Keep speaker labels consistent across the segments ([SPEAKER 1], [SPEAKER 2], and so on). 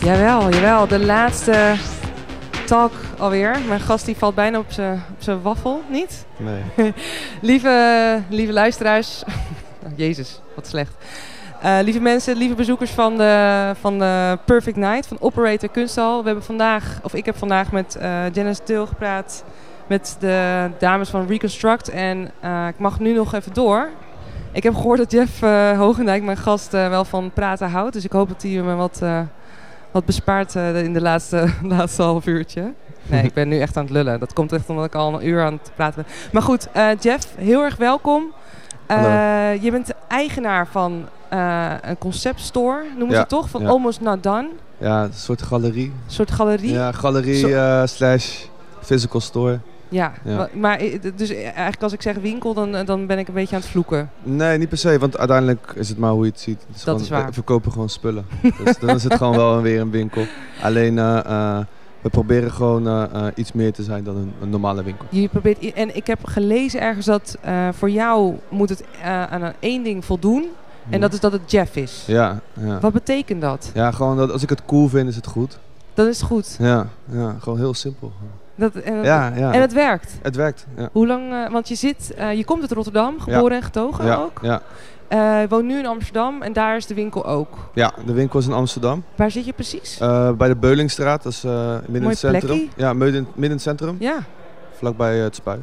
[SPEAKER 1] Jawel, jawel. De laatste talk alweer. Mijn gast die valt bijna op zijn op zijn waffel, niet?
[SPEAKER 2] Nee.
[SPEAKER 1] Lieve, lieve luisteraars. Oh, Jezus, wat slecht. Eh, lieve mensen, lieve bezoekers van de, van de Perfect Night van Operator Kunsthal. We hebben vandaag, of ik heb vandaag met eh Janice Deel gepraat met de dames van Reconstruct. En eh, ik mag nu nog even door. Ik heb gehoord dat Jeff eh, Hogendijk, mijn gast, eh, wel van praten houdt. Dus ik hoop dat hij me wat, eh, wat bespaart eh, in de laatste, laatste half uurtje. Nee, ik ben nu echt aan het lullen. Dat komt echt omdat ik al een uur aan het praten ben. Maar goed, eh, Jeff, heel erg welkom. Eh, je bent de eigenaar van eh, een conceptstore, noemen ze
[SPEAKER 2] Ja,
[SPEAKER 1] het toch? Van
[SPEAKER 2] ja.
[SPEAKER 1] Almost Not Done.
[SPEAKER 2] Ja, een soort galerie.
[SPEAKER 1] Een soort galerie.
[SPEAKER 2] Ja, galerie
[SPEAKER 1] Zo-
[SPEAKER 2] eh, slash physical store.
[SPEAKER 1] Ja,
[SPEAKER 2] Ja.
[SPEAKER 1] wa- maar i- d- dus eigenlijk als ik zeg winkel, dan, eh, dan ben ik een beetje aan het vloeken.
[SPEAKER 2] Nee, niet per se, want uiteindelijk is het maar hoe je het ziet. Het
[SPEAKER 1] Dat
[SPEAKER 2] gewoon-
[SPEAKER 1] is waar.
[SPEAKER 2] We verkopen gewoon spullen. dus dan is het gewoon wel weer een winkel. Alleen, eh, eh, we proberen gewoon eh, eh, iets meer te zijn dan een, een normale winkel.
[SPEAKER 1] Je probeert, i- en ik heb gelezen ergens dat eh, voor jou moet het eh, aan een- één ding voldoen. En dat is dat het Jeff is.
[SPEAKER 2] Ja, ja.
[SPEAKER 1] Wat betekent dat?
[SPEAKER 2] Ja, gewoon dat als ik het cool vind, is het goed.
[SPEAKER 1] Dat is goed.
[SPEAKER 2] Ja, ja gewoon heel simpel.
[SPEAKER 1] Dat, en, dat-
[SPEAKER 2] Ja, ja.
[SPEAKER 1] en het werkt.
[SPEAKER 2] Het werkt. Ja.
[SPEAKER 1] Hoe lang, eh, want je zit, eh, je komt uit Rotterdam, geboren en getogen
[SPEAKER 2] Ja,
[SPEAKER 1] ook.
[SPEAKER 2] ja.
[SPEAKER 1] Eh, je woont nu in Amsterdam en daar is de winkel ook.
[SPEAKER 2] ja, de winkel is in Amsterdam.
[SPEAKER 1] Waar zit je precies?
[SPEAKER 2] Eh, bij de Beulingstraat, dat is eh, midden in
[SPEAKER 1] Mooi
[SPEAKER 2] het centrum.
[SPEAKER 1] plekje.
[SPEAKER 2] Ja, midden, midden in het centrum,
[SPEAKER 1] ja.
[SPEAKER 2] vlakbij eh, het spui.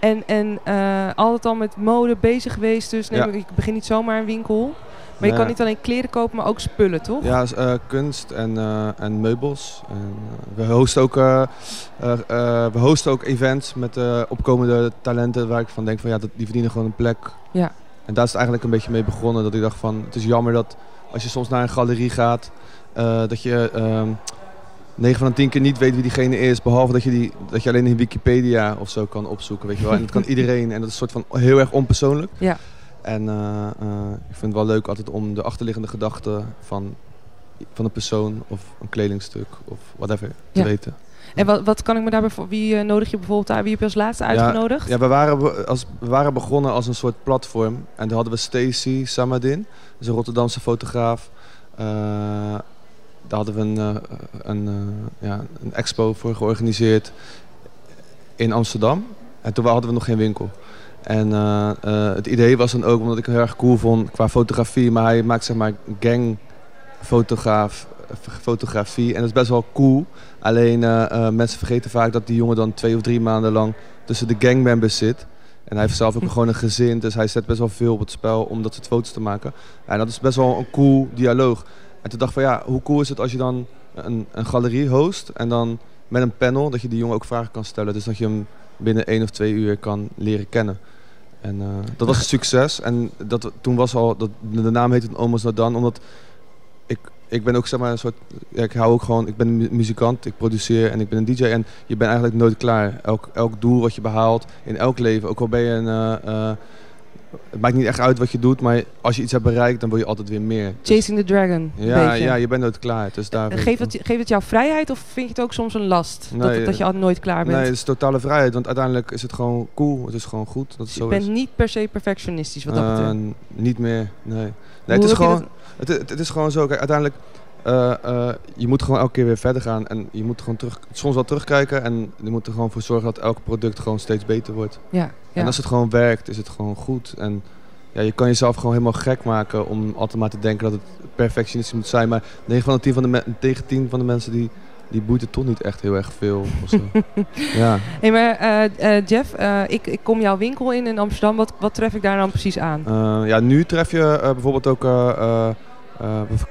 [SPEAKER 1] En, en eh, altijd al met mode bezig geweest, dus neem
[SPEAKER 2] Ja.
[SPEAKER 1] ik, ik begin niet zomaar een winkel. Maar je kan
[SPEAKER 2] Nee.
[SPEAKER 1] niet alleen kleren kopen, maar ook spullen, toch?
[SPEAKER 2] Ja, is, eh, kunst en, eh, en meubels. En, eh, we, hosten ook, eh, eh, eh, we hosten ook events met eh, opkomende talenten waar ik van denk van ja, dat, die verdienen gewoon een plek.
[SPEAKER 1] Ja.
[SPEAKER 2] En daar is het eigenlijk een beetje mee begonnen. Dat ik dacht van het is jammer dat als je soms naar een galerie gaat, eh, dat je ehm 9 van de 10 keer niet weet wie diegene is. Behalve dat je, die, dat je alleen in Wikipedia of zo kan opzoeken. Weet je wel. En dat kan iedereen. En dat is een soort van heel erg onpersoonlijk.
[SPEAKER 1] Ja.
[SPEAKER 2] En eh, eh, ik vind het wel leuk altijd om de achterliggende gedachte van van een persoon of een kledingstuk of whatever te
[SPEAKER 1] Ja.
[SPEAKER 2] weten.
[SPEAKER 1] En wat, wat kan ik me daarbij voor? Wie eh, nodig je bijvoorbeeld uit? Wie heb je als laatste uitgenodigd?
[SPEAKER 2] Ja, we waren, be- als, we waren begonnen als een soort platform. En daar hadden we Stacy Samadin, dat is een Rotterdamse fotograaf. Eh, daar hadden we een, eh, een, eh, ja, een expo voor georganiseerd in Amsterdam. En toen hadden we nog geen winkel. En eh, eh, het idee was dan ook, omdat ik hem heel erg cool vond qua fotografie. Maar hij maakt zeg maar gangfotograaf fotografie. En dat is best wel cool. Alleen eh, eh, mensen vergeten vaak dat die jongen dan twee of drie maanden lang tussen de gangmembers zit. En hij heeft zelf ook gewoon een gezin, dus hij zet best wel veel op het spel om dat soort foto's te maken. En dat is best wel een cool dialoog. En toen dacht ik van ja, hoe cool is het als je dan een, een galerie host en dan met een panel dat je die jongen ook vragen kan stellen. Dus dat je hem binnen één of twee uur kan leren kennen. En eh, dat was een succes. En dat, toen was al, dat, de naam heette Omos Nadan, omdat ik, ik ben ook zeg maar een soort, ja, ik hou ook gewoon, ik ben een mu- muzikant, ik produceer en ik ben een DJ. En je bent eigenlijk nooit klaar. Elk, elk doel wat je behaalt in elk leven, ook al ben je een. eh, eh, het maakt niet echt uit wat je doet, maar als je iets hebt bereikt, dan wil je altijd weer meer. Dus-
[SPEAKER 1] Chasing the Dragon. een
[SPEAKER 2] ja,
[SPEAKER 1] beetje.
[SPEAKER 2] ja, je bent nooit klaar. Dus daar
[SPEAKER 1] Eh, Geeft, het, geeft het jou vrijheid of vind je het ook soms een last? dat,
[SPEAKER 2] Nee,
[SPEAKER 1] het- dat je altijd nooit klaar bent?
[SPEAKER 2] Nee, het is totale vrijheid, want uiteindelijk is het gewoon cool. Het is gewoon goed dat het
[SPEAKER 1] Dus
[SPEAKER 2] zo
[SPEAKER 1] je bent
[SPEAKER 2] is.
[SPEAKER 1] niet per se perfectionistisch wat dat
[SPEAKER 2] Eh,
[SPEAKER 1] betreft.
[SPEAKER 2] niet meer, nee. nee
[SPEAKER 1] Hoe
[SPEAKER 2] het, is
[SPEAKER 1] heb je
[SPEAKER 2] gewoon,
[SPEAKER 1] dat-
[SPEAKER 2] het, het- het is gewoon zo. Kijk, uiteindelijk, eh, eh, je moet gewoon elke keer weer verder gaan. En je moet gewoon terug, soms wel terugkijken. En je moet er gewoon voor zorgen dat elk product gewoon steeds beter wordt.
[SPEAKER 1] ja, ja.
[SPEAKER 2] En als het gewoon werkt, is het gewoon goed. En ja, je kan jezelf gewoon helemaal gek maken om altijd maar te denken dat het perfectionistisch moet zijn. Maar 9 van de 10 van de me- tegen 10 van de mensen die, die boeit het toch niet echt heel erg veel. Of zo. ja.
[SPEAKER 1] Hey, maar eh, eh, Jeff, eh, ik, ik kom jouw winkel in in Amsterdam. Wat, wat tref ik daar dan precies aan?
[SPEAKER 2] Eh, ja, nu tref je eh, bijvoorbeeld ook. eh, eh, eh,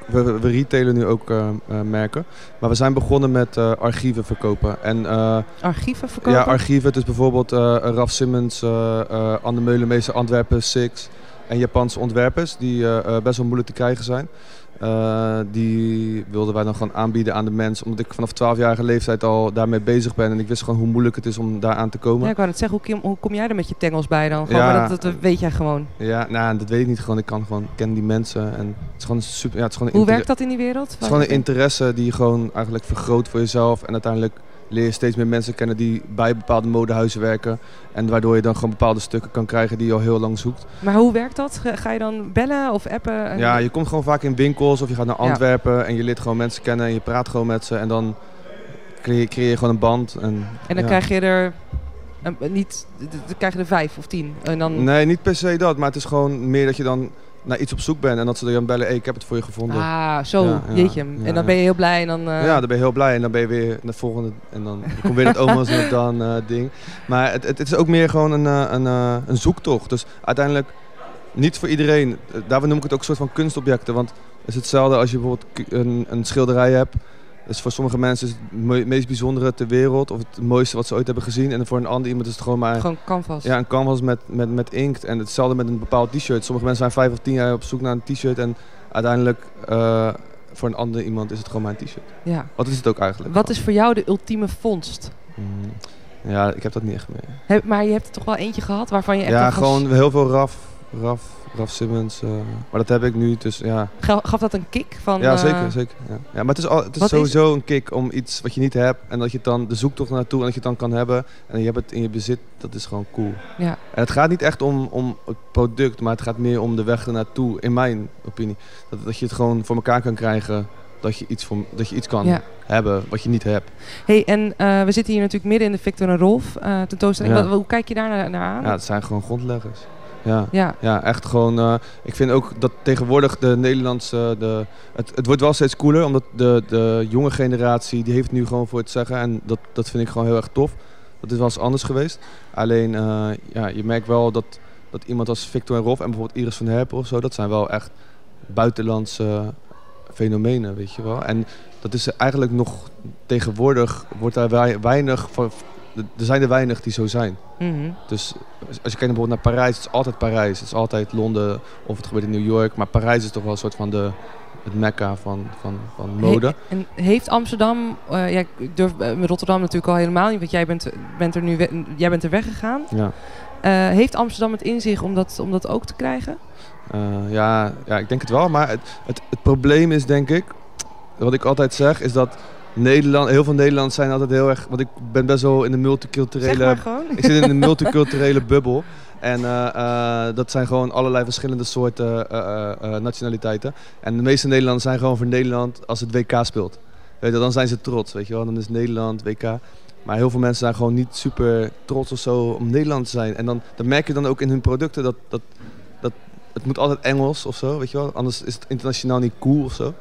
[SPEAKER 2] we, we, we retailen nu ook eh, eh, merken. Maar we zijn begonnen met eh, archieven verkopen. En eh,
[SPEAKER 1] Archieven verkopen?
[SPEAKER 2] Ja, archieven. Dus bijvoorbeeld eh Raf Simmons, eh, eh, Anne Meulemeester, Antwerpen, Six. En Japanse ontwerpers die eh, eh, best wel moeilijk te krijgen zijn. Eh, die wilden wij dan gewoon aanbieden aan de mens. Omdat ik vanaf 12-jarige leeftijd al daarmee bezig ben. En ik wist gewoon hoe moeilijk het is om daar aan te
[SPEAKER 1] Ja,
[SPEAKER 2] komen.
[SPEAKER 1] ik wou net zeggen, hoe kom, hoe kom jij er met je tengels bij dan? Gewoon,
[SPEAKER 2] Ja.
[SPEAKER 1] maar dat, dat weet jij gewoon.
[SPEAKER 2] Ja, nou, dat weet ik niet. Gewoon, ik kan gewoon, ik ken die mensen. En het is gewoon super. Ja, het is gewoon een
[SPEAKER 1] Hoe
[SPEAKER 2] inter-
[SPEAKER 1] werkt dat in die wereld?
[SPEAKER 2] Het is gewoon een interesse die je gewoon eigenlijk vergroot voor jezelf. En uiteindelijk leer je steeds meer mensen kennen die bij bepaalde modehuizen werken. En waardoor je dan gewoon bepaalde stukken kan krijgen die je al heel lang zoekt.
[SPEAKER 1] Maar hoe werkt dat? Ga ga je dan bellen of appen? En-
[SPEAKER 2] Ja, je komt gewoon vaak in winkels of je gaat naar
[SPEAKER 1] Ja.
[SPEAKER 2] Antwerpen en je leert gewoon mensen kennen en je praat gewoon met ze. En dan creë- creëer je gewoon een band. En,
[SPEAKER 1] en dan
[SPEAKER 2] ja.
[SPEAKER 1] krijg je er een- niet, d- d- dan krijg je er vijf of tien. En dan,
[SPEAKER 2] Nee, niet per se dat, maar het is gewoon meer dat je dan naar iets op zoek bent. En dat ze dan bellen, hey, ik heb het voor je gevonden.
[SPEAKER 1] ah, zo,
[SPEAKER 2] Ja, ja,
[SPEAKER 1] jeetje.
[SPEAKER 2] ja,
[SPEAKER 1] en dan
[SPEAKER 2] ja.
[SPEAKER 1] ben je heel blij en dan... eh,
[SPEAKER 2] Ja, dan ben je heel blij en dan ben je weer naar de volgende. En dan komt weer dat oma's en dat dan eh, ding. Maar het, het, het is ook meer gewoon een, eh, een, eh, een zoektocht. Dus uiteindelijk niet voor iedereen. Eh, Daarvoor noem ik het ook een soort van kunstobjecten. Want het is hetzelfde als je bijvoorbeeld ku- een, een schilderij hebt. Dus voor sommige mensen is het mo- meest bijzondere ter wereld. Of het mooiste wat ze ooit hebben gezien. En voor een ander iemand is het gewoon maar
[SPEAKER 1] Gewoon canvas.
[SPEAKER 2] ja, een canvas met, met, met inkt. En hetzelfde met een bepaald t-shirt. Sommige mensen zijn vijf of tien jaar op zoek naar een t-shirt. En uiteindelijk eh, voor een ander iemand is het gewoon maar een t-shirt.
[SPEAKER 1] Ja.
[SPEAKER 2] Wat is het ook eigenlijk?
[SPEAKER 1] Wat is voor jou de ultieme vondst?
[SPEAKER 2] Mm. Ja, ik heb dat niet echt meer.
[SPEAKER 1] Heb- maar je hebt er toch wel eentje gehad waarvan je echt...
[SPEAKER 2] ja,
[SPEAKER 1] dacht,
[SPEAKER 2] gewoon heel veel Raf, Raf, Raf Simmons. eh, maar dat heb ik nu, dus ja.
[SPEAKER 1] Ga- Gaf dat een kick? Van,
[SPEAKER 2] Ja,
[SPEAKER 1] eh,
[SPEAKER 2] zeker, zeker. Ja. Ja, maar het is, al, het is
[SPEAKER 1] wat is
[SPEAKER 2] sowieso een kick om iets wat je niet hebt en dat je het dan de zoektocht naartoe en dat je het dan kan hebben en je hebt het in je bezit, dat is gewoon cool.
[SPEAKER 1] Ja.
[SPEAKER 2] En het gaat niet echt om, om het product, maar het gaat meer om de weg ernaartoe, in mijn opinie. Dat, dat je het gewoon voor elkaar kan krijgen, dat je iets, voor, dat je iets kan
[SPEAKER 1] Ja.
[SPEAKER 2] hebben wat je niet hebt.
[SPEAKER 1] Hey, en eh, we zitten hier natuurlijk midden in de Victor en Rolf eh, tentoonstelling.
[SPEAKER 2] Ja.
[SPEAKER 1] Wat- hoe kijk je daar naar, naar aan?
[SPEAKER 2] Ja, het zijn gewoon grondleggers. Ja.
[SPEAKER 1] Ja.
[SPEAKER 2] Ja, echt gewoon. eh, ik vind ook dat tegenwoordig de Nederlandse. De, het, het wordt wel steeds cooler, omdat de, de jonge generatie. die heeft nu gewoon voor het zeggen. En dat, dat vind ik gewoon heel erg tof. Dat is wel eens anders geweest. Alleen, eh, ja, je merkt wel dat, dat iemand als Victor en Rolf. en bijvoorbeeld Iris van Herpen of zo. dat zijn wel echt buitenlandse fenomenen, weet je wel. En dat is eigenlijk nog. tegenwoordig wordt daar wei- weinig van. Er zijn er weinig die zo zijn.
[SPEAKER 1] Mhm.
[SPEAKER 2] Dus als je kijkt bijvoorbeeld naar Parijs, het is altijd Parijs. Het is altijd Londen of het gebeurt in New York. Maar Parijs is toch wel een soort van de, het mekka van, van, van mode.
[SPEAKER 1] He- en heeft Amsterdam, eh, ja, ik durf eh, met Rotterdam natuurlijk al helemaal niet, want jij bent, bent er nu, we- jij bent er weggegaan.
[SPEAKER 2] Ja,
[SPEAKER 1] Eh, heeft Amsterdam het in zich om dat, om dat ook te krijgen?
[SPEAKER 2] Eh, ja, ja, ik denk het wel. Maar het, het, het probleem is denk ik, wat ik altijd zeg, is dat Nederland, heel veel Nederlanders zijn altijd heel erg... Want ik ben best wel in de multiculturele
[SPEAKER 1] Zeg maar gewoon.
[SPEAKER 2] Ik zit in een multiculturele bubbel. En eh, eh, dat zijn gewoon allerlei verschillende soorten eh, eh, eh, nationaliteiten. En de meeste Nederlanders zijn gewoon voor Nederland als het WK speelt. Weet je, dan zijn ze trots, weet je wel. Dan is Nederland, WK. Maar heel veel mensen zijn gewoon niet super trots of zo om Nederland te zijn. En dan, dat merk je dan ook in hun producten. Dat, dat, dat, het moet altijd Engels of zo, weet je wel. Anders is het internationaal niet cool of zo.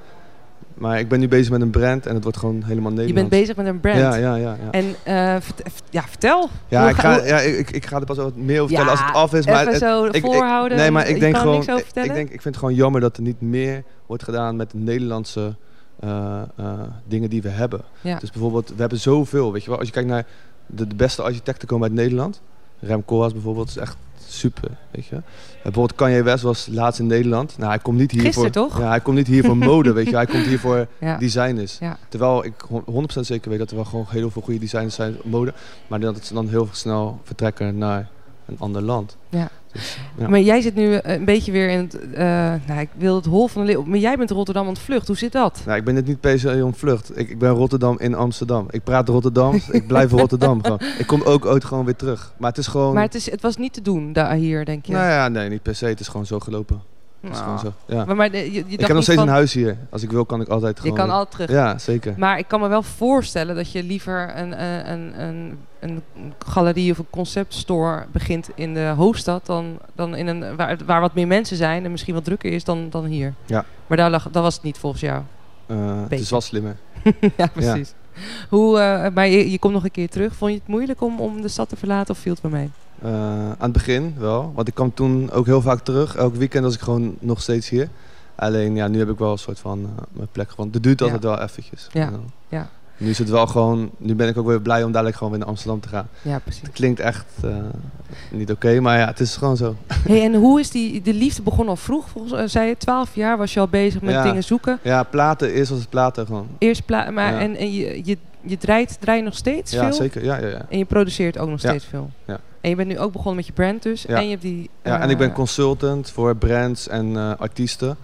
[SPEAKER 2] Maar ik ben nu bezig met een brand en het wordt gewoon helemaal
[SPEAKER 1] Je
[SPEAKER 2] Nederlands.
[SPEAKER 1] bent bezig met een brand.
[SPEAKER 2] Ja, ja, ja. ja.
[SPEAKER 1] En eh, vert- v- ja, vertel.
[SPEAKER 2] Ja,
[SPEAKER 1] Hoe
[SPEAKER 2] ik
[SPEAKER 1] ga-
[SPEAKER 2] ga,
[SPEAKER 1] hoe-
[SPEAKER 2] ja ik, ik, ik ga er pas wat meer over
[SPEAKER 1] Ja,
[SPEAKER 2] vertellen als het af is. Maar
[SPEAKER 1] Even
[SPEAKER 2] het-
[SPEAKER 1] zo
[SPEAKER 2] ik- ik-
[SPEAKER 1] voorhouden.
[SPEAKER 2] nee, maar
[SPEAKER 1] Je
[SPEAKER 2] ik denk
[SPEAKER 1] kan er
[SPEAKER 2] gewoon.
[SPEAKER 1] niks over
[SPEAKER 2] ik,
[SPEAKER 1] vertellen.
[SPEAKER 2] ik denk, ik vind het gewoon jammer dat er niet meer wordt gedaan met de Nederlandse eh, eh, dingen die we hebben.
[SPEAKER 1] Ja.
[SPEAKER 2] Dus bijvoorbeeld, we hebben zoveel. Weet je wel, als je kijkt naar de, de beste architecten komen uit Nederland. Rem Koolhaas bijvoorbeeld is echt super. Weet je. Eh, Bijvoorbeeld Kanye West was laatst in Nederland. Nou, hij komt niet hier
[SPEAKER 1] Gisteren,
[SPEAKER 2] voor.
[SPEAKER 1] toch?
[SPEAKER 2] Ja, hij komt niet hier voor mode. Weet je. Hij komt hier voor
[SPEAKER 1] ja.
[SPEAKER 2] designers.
[SPEAKER 1] Ja.
[SPEAKER 2] Terwijl ik hon- 100% zeker weet dat er wel gewoon heel veel goede designers zijn op mode. Maar dat ze dan heel snel vertrekken naar een ander land.
[SPEAKER 1] Ja.
[SPEAKER 2] Dus, ja.
[SPEAKER 1] Maar jij zit nu eh, een beetje weer in het... eh, nou, ik wil het hol van de leeuw. Maar jij bent Rotterdam ontvlucht. Hoe zit dat?
[SPEAKER 2] Nou, ik ben het niet per se om vlucht. Ik, ik ben Rotterdam in Amsterdam. Ik praat Rotterdams. ik blijf Rotterdam gewoon. Ik kom ook ooit gewoon weer terug. Maar het is gewoon...
[SPEAKER 1] Maar het, is, het was niet te doen daar, hier, denk je?
[SPEAKER 2] Nou ja, nee, niet per se. Het is gewoon zo gelopen. Het is gewoon
[SPEAKER 1] Nou.
[SPEAKER 2] zo. Ja.
[SPEAKER 1] Maar, maar de- je, je dacht
[SPEAKER 2] Ik heb nog
[SPEAKER 1] niet
[SPEAKER 2] steeds
[SPEAKER 1] van,
[SPEAKER 2] een huis hier. Als ik wil kan ik altijd
[SPEAKER 1] Je
[SPEAKER 2] gewoon...
[SPEAKER 1] kan altijd terug.
[SPEAKER 2] Ja, zeker.
[SPEAKER 1] Maar ik kan me wel voorstellen dat je liever een, een, een, een, een galerie of een conceptstore begint in de hoofdstad dan, dan in een, waar, waar wat meer mensen zijn en misschien wat drukker is dan, dan hier.
[SPEAKER 2] Ja.
[SPEAKER 1] Maar daar lag, dat was het niet volgens jou.
[SPEAKER 2] Eh, het is
[SPEAKER 1] beetje.
[SPEAKER 2] wel slimmer.
[SPEAKER 1] ja, precies. Hoe, eh, maar je, je komt nog een keer terug. Vond je het moeilijk om, om de stad te verlaten of viel het wel mee?
[SPEAKER 2] Eh, aan het begin wel, want ik kwam toen ook heel vaak terug. Elk weekend was ik gewoon nog steeds hier. Alleen ja, nu heb ik wel een soort van eh, mijn plek gevonden. Het duurt altijd wel eventjes.
[SPEAKER 1] Ja,
[SPEAKER 2] En dan-
[SPEAKER 1] ja.
[SPEAKER 2] Nu is het wel gewoon, nu ben ik ook weer blij om dadelijk gewoon weer naar Amsterdam te gaan.
[SPEAKER 1] Ja, precies.
[SPEAKER 2] Het klinkt echt eh, niet oké, maar ja, het is gewoon zo.
[SPEAKER 1] Hey, en hoe is die, de liefde begon al vroeg? Volgens eh, zei je, 12 jaar was je al bezig met
[SPEAKER 2] Ja.
[SPEAKER 1] dingen zoeken.
[SPEAKER 2] Ja, platen is als het platen gewoon.
[SPEAKER 1] Eerst pla maar
[SPEAKER 2] Ja.
[SPEAKER 1] en, en je, je, je draait, draai je nog steeds
[SPEAKER 2] Ja,
[SPEAKER 1] veel.
[SPEAKER 2] zeker. Ja, ja, ja.
[SPEAKER 1] En je produceert ook nog
[SPEAKER 2] Ja.
[SPEAKER 1] steeds veel.
[SPEAKER 2] Ja.
[SPEAKER 1] En je bent nu ook begonnen met je brand dus.
[SPEAKER 2] Ja.
[SPEAKER 1] En je hebt die.
[SPEAKER 2] Ja, en ik ben
[SPEAKER 1] eh,
[SPEAKER 2] consultant voor brands en eh, artiesten.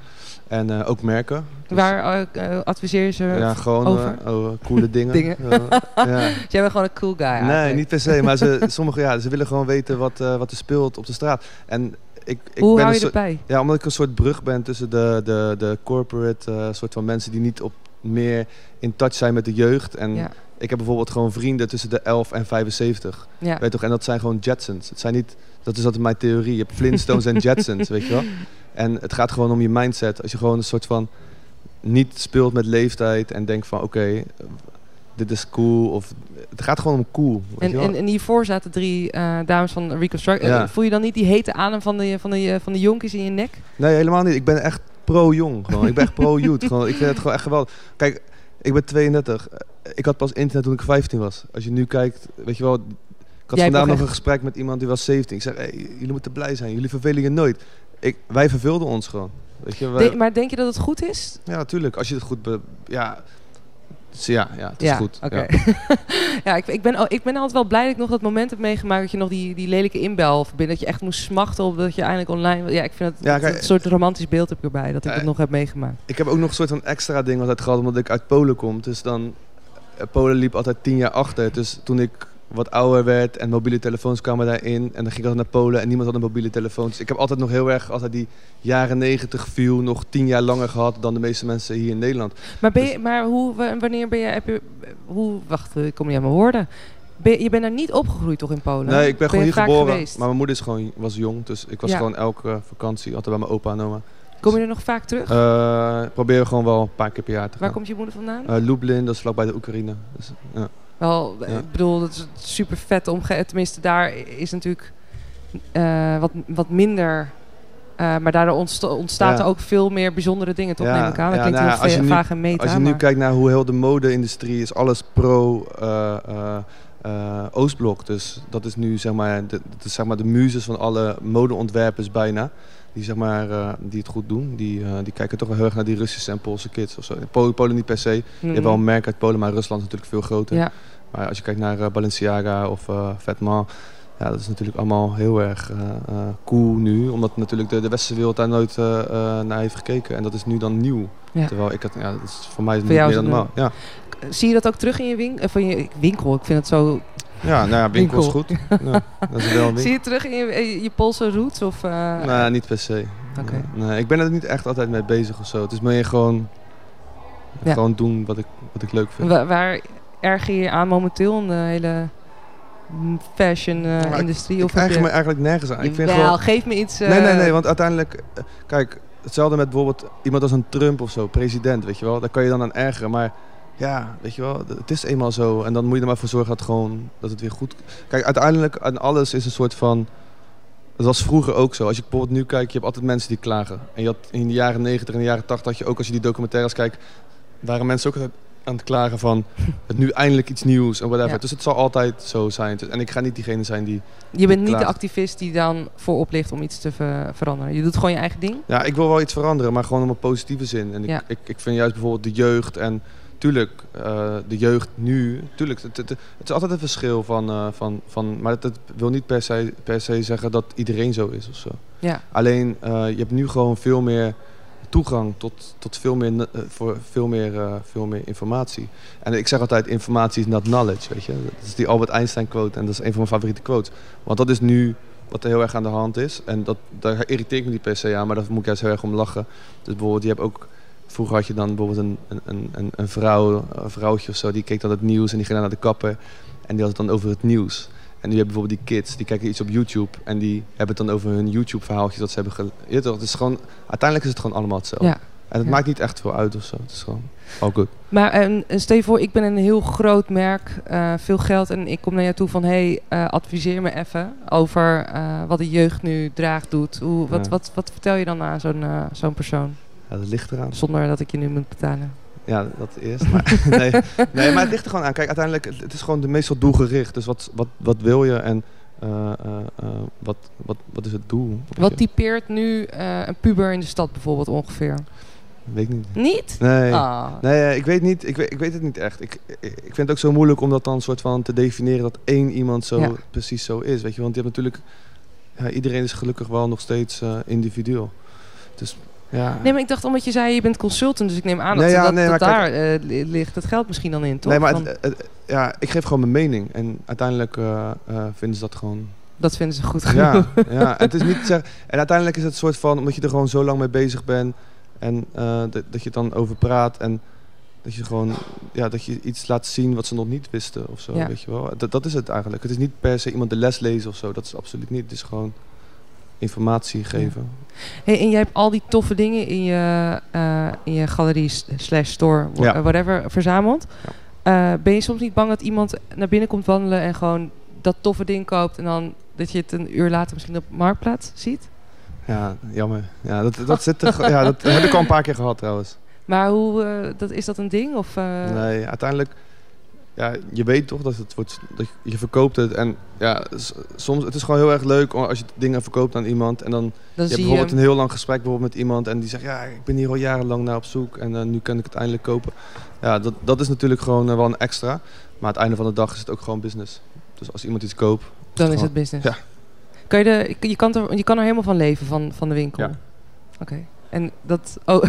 [SPEAKER 2] En eh, ook merken. Dus,
[SPEAKER 1] Waar eh, eh, adviseer je ze?
[SPEAKER 2] Ja, gewoon
[SPEAKER 1] over?
[SPEAKER 2] eh, over coole dingen.
[SPEAKER 1] Dingen.
[SPEAKER 2] Ja, ja.
[SPEAKER 1] Dus jij bent gewoon een cool guy
[SPEAKER 2] Nee,
[SPEAKER 1] eigenlijk.
[SPEAKER 2] niet per se. Maar ze, sommige, ja, ze willen gewoon weten wat, eh, wat er speelt op de straat. En ik, ik
[SPEAKER 1] Hoe hou
[SPEAKER 2] ben een
[SPEAKER 1] je
[SPEAKER 2] soort,
[SPEAKER 1] erbij?
[SPEAKER 2] ja, omdat ik een soort brug ben tussen de, de, de corporate eh, soort van mensen die niet op meer in touch zijn met de jeugd. En
[SPEAKER 1] Ja.
[SPEAKER 2] ik heb bijvoorbeeld gewoon vrienden tussen de 11 en 75.
[SPEAKER 1] Ja.
[SPEAKER 2] Weet je toch? En dat zijn gewoon Jetsons. Het zijn niet, dat is altijd mijn theorie. Je hebt Flintstones en Jetsons, weet je wel. En het gaat gewoon om je mindset. Als je gewoon een soort van niet speelt met leeftijd en denkt van oké, eh, dit is cool. Of, het gaat gewoon om cool. Weet je
[SPEAKER 1] En,
[SPEAKER 2] wel?
[SPEAKER 1] en, en hiervoor zaten drie eh, dames van Reconstruct.
[SPEAKER 2] Ja.
[SPEAKER 1] Voel je dan niet die hete adem van de, van de, van de jonkies in je nek?
[SPEAKER 2] Nee, helemaal niet. Ik ben echt pro-jong. gewoon. Ik ben echt pro-youth. gewoon. Ik vind het gewoon echt geweldig. Kijk, ik ben 32. Ik had pas internet toen ik 15 was. Als je nu kijkt, weet je wel... Ik had
[SPEAKER 1] Jij hebt
[SPEAKER 2] vandaag
[SPEAKER 1] ook
[SPEAKER 2] nog
[SPEAKER 1] echt-
[SPEAKER 2] een gesprek met iemand die was 17. Ik zeg, hey, jullie moeten blij zijn. Jullie vervelen je nooit. Ik, wij verveelden ons gewoon. Weet je, wij-
[SPEAKER 1] De- maar denk je dat het goed is?
[SPEAKER 2] Ja, natuurlijk. Als je het goed... Be, ja, Dus ja, ja, het is goed.
[SPEAKER 1] Oké.
[SPEAKER 2] Ja.
[SPEAKER 1] Ja, ik, ik, ben, al- ik ben altijd wel blij dat ik nog dat moment heb meegemaakt dat je nog die, die lelijke inbel verbindt. Dat je echt moest smachten op dat je eindelijk online. Ja, ik vind dat,
[SPEAKER 2] Ja,
[SPEAKER 1] dat-
[SPEAKER 2] kijk,
[SPEAKER 1] dat soort romantisch beeld heb ik erbij, dat ik
[SPEAKER 2] eh,
[SPEAKER 1] dat nog heb meegemaakt.
[SPEAKER 2] Ik heb ook nog een soort van extra ding altijd gehad, omdat ik uit Polen kom. Dus dan, eh, Polen liep altijd tien jaar achter. Dus toen ik wat ouder werd en mobiele telefoons kwamen daarin. En dan ging ik altijd naar Polen en niemand had een mobiele telefoon. Dus ik heb altijd nog heel erg, altijd die jaren negentig view, nog tien jaar langer gehad dan de meeste mensen hier in Nederland.
[SPEAKER 1] Maar, ben je,
[SPEAKER 2] dus-
[SPEAKER 1] maar hoe, wa- wanneer ben je, heb je hoe, wacht, eh, ik kom niet aan mijn woorden. Ben, je- je bent daar niet opgegroeid toch in Polen?
[SPEAKER 2] Nee, ik ben gewoon
[SPEAKER 1] je
[SPEAKER 2] hier
[SPEAKER 1] vaak
[SPEAKER 2] geboren.
[SPEAKER 1] geweest?
[SPEAKER 2] Maar mijn moeder is gewoon, was jong, dus ik was
[SPEAKER 1] Ja.
[SPEAKER 2] gewoon elke vakantie altijd bij mijn opa en oma.
[SPEAKER 1] Kom je er nog vaak terug?
[SPEAKER 2] Eh proberen gewoon wel een paar keer per jaar te gaan.
[SPEAKER 1] Waar komt je moeder vandaan?
[SPEAKER 2] Eh, Lublin, dat is vlakbij de Oekraïne. Dus, ja.
[SPEAKER 1] Wel,
[SPEAKER 2] Ja.
[SPEAKER 1] ik bedoel, dat is super vet omge. Tenminste, daar is natuurlijk eh, wat, wat minder. eh, maar daardoor ontsta- ontstaat
[SPEAKER 2] Ja.
[SPEAKER 1] er ook veel meer bijzondere dingen, toch?
[SPEAKER 2] Ja,
[SPEAKER 1] Neem ik aan. Dat
[SPEAKER 2] ja,
[SPEAKER 1] klinkt
[SPEAKER 2] nou ja,
[SPEAKER 1] heel
[SPEAKER 2] als
[SPEAKER 1] ve-
[SPEAKER 2] je nu-
[SPEAKER 1] vaag en meta.
[SPEAKER 2] Als je nu
[SPEAKER 1] maar-
[SPEAKER 2] kijkt naar hoe heel de mode-industrie is, alles pro eh, eh, eh, Oostblok. Dus dat is nu zeg maar de, dat is, zeg maar de muzes van alle modeontwerpers bijna. Die, zeg maar, eh, die het goed doen. Die, eh, die kijken toch wel heel erg naar die Russische en Poolse kids. Of zo. In Polen, Polen niet per se. Je
[SPEAKER 1] Mhm.
[SPEAKER 2] hebt wel een merk uit Polen, maar Rusland is natuurlijk veel groter.
[SPEAKER 1] Ja.
[SPEAKER 2] Maar als je kijkt naar eh, Balenciaga of eh Vetements. Ja, dat is natuurlijk allemaal heel erg eh, eh, cool nu. Omdat natuurlijk de, de westerse wereld daar nooit eh, eh, naar heeft gekeken. En dat is nu dan nieuw.
[SPEAKER 1] Ja.
[SPEAKER 2] Terwijl ik dat, ja, dat is voor mij is het
[SPEAKER 1] Voor
[SPEAKER 2] niet
[SPEAKER 1] jou
[SPEAKER 2] meer
[SPEAKER 1] is
[SPEAKER 2] dan
[SPEAKER 1] het
[SPEAKER 2] normaal. Ja.
[SPEAKER 1] Zie je dat ook terug in je, win- eh, van je winkel? Ik vind het zo...
[SPEAKER 2] ja, nou ja, winkel is
[SPEAKER 1] Winkel.
[SPEAKER 2] goed. Ja, dat is wel een winkel.
[SPEAKER 1] Zie je het terug in je, eh, je Poolse roots? Of, eh,
[SPEAKER 2] Nee, niet per se.
[SPEAKER 1] Oké.
[SPEAKER 2] Nou, Nee, nee, ik ben er niet echt altijd mee bezig of zo. Het is meer gewoon,
[SPEAKER 1] Ja.
[SPEAKER 2] gewoon doen wat ik, wat ik leuk vind.
[SPEAKER 1] wa- waar erger je je aan momenteel in de hele eh,
[SPEAKER 2] Nou, ik-
[SPEAKER 1] fashion-industrie?
[SPEAKER 2] ik eigen me eigenlijk nergens aan. Ik vind
[SPEAKER 1] Jawel,
[SPEAKER 2] gewoon,
[SPEAKER 1] geef me iets... eh,
[SPEAKER 2] nee, nee, nee, want uiteindelijk... eh, Kijk, hetzelfde met bijvoorbeeld iemand als een Trump of zo, president, weet je wel. Daar kan je dan aan ergeren, maar... Ja, weet je wel, d- het is eenmaal zo. En dan moet je er maar voor zorgen dat, gewoon, dat het weer goed... Kijk, uiteindelijk aan alles is een soort van... Dat was vroeger ook zo. Als je bijvoorbeeld nu kijkt, je hebt altijd mensen die klagen. En je had in de jaren 90 en de jaren 80 had je ook, als je die documentaires kijkt... waren mensen ook altijd aan het klagen van... het nu eindelijk iets nieuws en whatever.
[SPEAKER 1] Ja.
[SPEAKER 2] Dus het zal altijd zo zijn. Dus- En ik ga niet diegene zijn die...
[SPEAKER 1] Je bent niet de
[SPEAKER 2] Klaar.
[SPEAKER 1] activist die dan voorop ligt om iets te ver- veranderen. Je doet gewoon je eigen ding.
[SPEAKER 2] Ja, ik wil wel iets veranderen, maar gewoon om een positieve zin. En ik,
[SPEAKER 1] Ja.
[SPEAKER 2] ik, ik vind juist bijvoorbeeld de jeugd en tuurlijk, eh, de jeugd nu, tuurlijk, het, het, het is altijd een verschil van, eh, van, van maar het, het wil niet per se, per se zeggen dat iedereen zo is of zo.
[SPEAKER 1] Ja.
[SPEAKER 2] Alleen, eh, je hebt nu gewoon veel meer toegang tot, tot veel, meer, n- eh, voor veel, meer, eh, veel meer informatie. En ik zeg altijd, informatie is not knowledge, weet je. Dat is die Albert Einstein quote en dat is een van mijn favoriete quotes. Want dat is nu wat er heel erg aan de hand is. En dat, daar irriteer ik me niet per se aan, maar daar moet ik juist heel erg om lachen. Dus bijvoorbeeld, je hebt ook... Vroeger had je dan bijvoorbeeld een, een- een, een, een vrouw, een vrouwtje of zo, die keek dan het nieuws en die ging dan naar de kapper. En die had het dan over het nieuws. En nu heb je bijvoorbeeld die kids, die kijken iets op YouTube en die hebben het dan over hun YouTube-verhaaltjes dat ze hebben ge... Je weet toch, het is gewoon, uiteindelijk is het gewoon allemaal hetzelfde.
[SPEAKER 1] Ja.
[SPEAKER 2] En het
[SPEAKER 1] Ja.
[SPEAKER 2] maakt niet echt veel uit of zo. Het is gewoon all good.
[SPEAKER 1] Maar en, en stel je voor, ik ben een heel groot merk, eh, veel geld. En ik kom naar jou toe van, hé, hey, eh, adviseer me even over eh, wat de jeugd nu draagt, doet. Hoe, wat,
[SPEAKER 2] Ja.
[SPEAKER 1] wat, wat vertel je dan aan zo'n eh, zo'n persoon?
[SPEAKER 2] Ja, dat ligt eraan.
[SPEAKER 1] Zonder dat ik je nu moet betalen.
[SPEAKER 2] Ja, dat eerst. Maar, nee, nee, maar het ligt er gewoon aan. Kijk, uiteindelijk, het- het is gewoon de meestal doelgericht. Dus wat, wat, wat wil je en eh, eh, eh, wat, wat, wat is het doel? Weet je?
[SPEAKER 1] Wat typeert nu eh, een puber in de stad bijvoorbeeld ongeveer?
[SPEAKER 2] Weet ik niet.
[SPEAKER 1] Niet?
[SPEAKER 2] Nee.
[SPEAKER 1] Ah.
[SPEAKER 2] Nee, eh, ik weet, niet, ik, weet, ik weet het niet echt. Ik, ik- ik vind het ook zo moeilijk om dat dan soort van te definiëren dat één iemand zo
[SPEAKER 1] Ja.
[SPEAKER 2] precies zo is. Weet je, want je hebt natuurlijk, ja, iedereen is gelukkig wel nog steeds eh, individueel. Dus Ja.
[SPEAKER 1] Nee, maar ik dacht omdat je zei je bent consultant, dus ik neem aan dat,
[SPEAKER 2] Nee, ja,
[SPEAKER 1] dat,
[SPEAKER 2] nee,
[SPEAKER 1] dat
[SPEAKER 2] maar
[SPEAKER 1] daar eh, li- ligt het geld misschien dan in, toch?
[SPEAKER 2] nee, maar
[SPEAKER 1] Van,
[SPEAKER 2] het- het- ja, ik geef gewoon mijn mening. En uiteindelijk eh, eh, vinden ze dat gewoon
[SPEAKER 1] dat vinden ze goed genoeg.
[SPEAKER 2] Ja, ja, het is niet te zeggen- En uiteindelijk is het een soort van, omdat je er gewoon zo lang mee bezig bent en eh, dat, dat je het dan over praat en dat je gewoon, ja, dat je iets laat zien wat ze nog niet wisten of zo,
[SPEAKER 1] Ja.
[SPEAKER 2] weet je wel. Dat, dat is het eigenlijk. Het is niet per se iemand de les lezen of zo, dat is absoluut niet. Het is gewoon informatie geven.
[SPEAKER 1] Hey, en jij hebt al die toffe dingen in je, eh, in je galerie s- slash store, wha-
[SPEAKER 2] Ja.
[SPEAKER 1] eh, whatever, verzameld. Eh, ben je soms niet bang dat iemand naar binnen komt wandelen en gewoon dat toffe ding koopt en dan dat je het een uur later misschien op marktplaats ziet?
[SPEAKER 2] Ja, jammer. Ja, dat, dat, zit er, gewoon- ja, dat heb ik al een paar keer gehad trouwens.
[SPEAKER 1] Maar hoe, eh, dat, is dat een ding? Of, eh,
[SPEAKER 2] Nee, uiteindelijk... Ja, je weet toch dat het wordt... Dat je- je verkoopt het en ja, s- soms... Het is gewoon heel erg leuk als je dingen verkoopt aan iemand en dan
[SPEAKER 1] Dan
[SPEAKER 2] Je hebt
[SPEAKER 1] zie je,
[SPEAKER 2] bijvoorbeeld een heel lang gesprek bijvoorbeeld met iemand en die zegt, ja, ik ben hier al jarenlang naar op zoek en eh, nu kan ik het eindelijk kopen. Ja, dat, dat is natuurlijk gewoon eh, wel een extra. Maar aan het einde van de dag is het ook gewoon business. Dus als iemand iets koopt,
[SPEAKER 1] dan is
[SPEAKER 2] gewoon-
[SPEAKER 1] het business.
[SPEAKER 2] Ja.
[SPEAKER 1] Kan je, de, je, kan er, je kan er helemaal van leven, van, van de winkel?
[SPEAKER 2] Ja.
[SPEAKER 1] Oké. En dat, oh,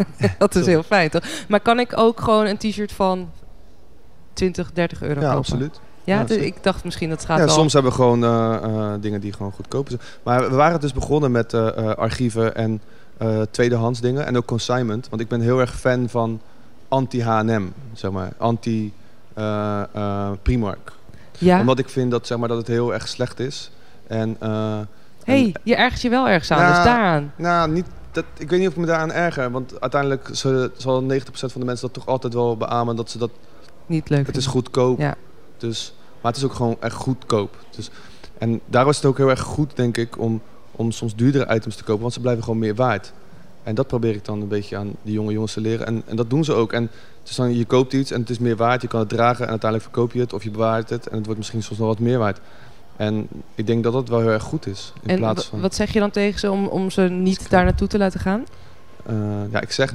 [SPEAKER 1] dat is
[SPEAKER 2] Sorry.
[SPEAKER 1] heel fijn, toch? Maar kan ik ook gewoon een t-shirt van 20, 30 euro
[SPEAKER 2] ja,
[SPEAKER 1] kopen?
[SPEAKER 2] absoluut.
[SPEAKER 1] Ja,
[SPEAKER 2] Ja,
[SPEAKER 1] dus
[SPEAKER 2] zeker.
[SPEAKER 1] ik dacht misschien dat gaat
[SPEAKER 2] Ja,
[SPEAKER 1] wel.
[SPEAKER 2] soms hebben we gewoon eh, eh, dingen die gewoon goedkoper zijn. Maar we waren dus begonnen met eh, eh, archieven en eh, tweedehands dingen en ook consignment. Want ik ben heel erg fan van anti-H&M, zeg maar. Anti... eh, eh, Primark.
[SPEAKER 1] Ja.
[SPEAKER 2] Omdat ik vind dat, zeg maar, dat het heel erg slecht is. En eh,
[SPEAKER 1] hey, je ergert je wel ergens aan,
[SPEAKER 2] Ja.
[SPEAKER 1] dus daaraan.
[SPEAKER 2] Nou, niet, dat, ik weet niet of ik me daaraan erger. Want uiteindelijk zullen- zal 90% van de mensen dat toch altijd wel beamen. Dat ze dat,
[SPEAKER 1] Niet leuk.
[SPEAKER 2] het is goedkoop.
[SPEAKER 1] Ja.
[SPEAKER 2] Dus, maar het is ook gewoon echt goedkoop. Dus, en daarom is het ook heel erg goed, denk ik, om, om soms duurdere items te kopen. Want ze blijven gewoon meer waard. En dat probeer ik dan een beetje aan die jonge jongens te leren. En, en dat doen ze ook. En het is dan, je koopt iets en het is meer waard. Je kan het dragen en uiteindelijk verkoop je het. Of je bewaart het en het wordt misschien soms nog wat meer waard. En ik denk dat dat wel heel erg goed is. In
[SPEAKER 1] en
[SPEAKER 2] plaats
[SPEAKER 1] wa-
[SPEAKER 2] van...
[SPEAKER 1] wat zeg je dan tegen ze om, om ze niet daar naartoe te laten gaan?
[SPEAKER 2] Eh, ja, ik zeg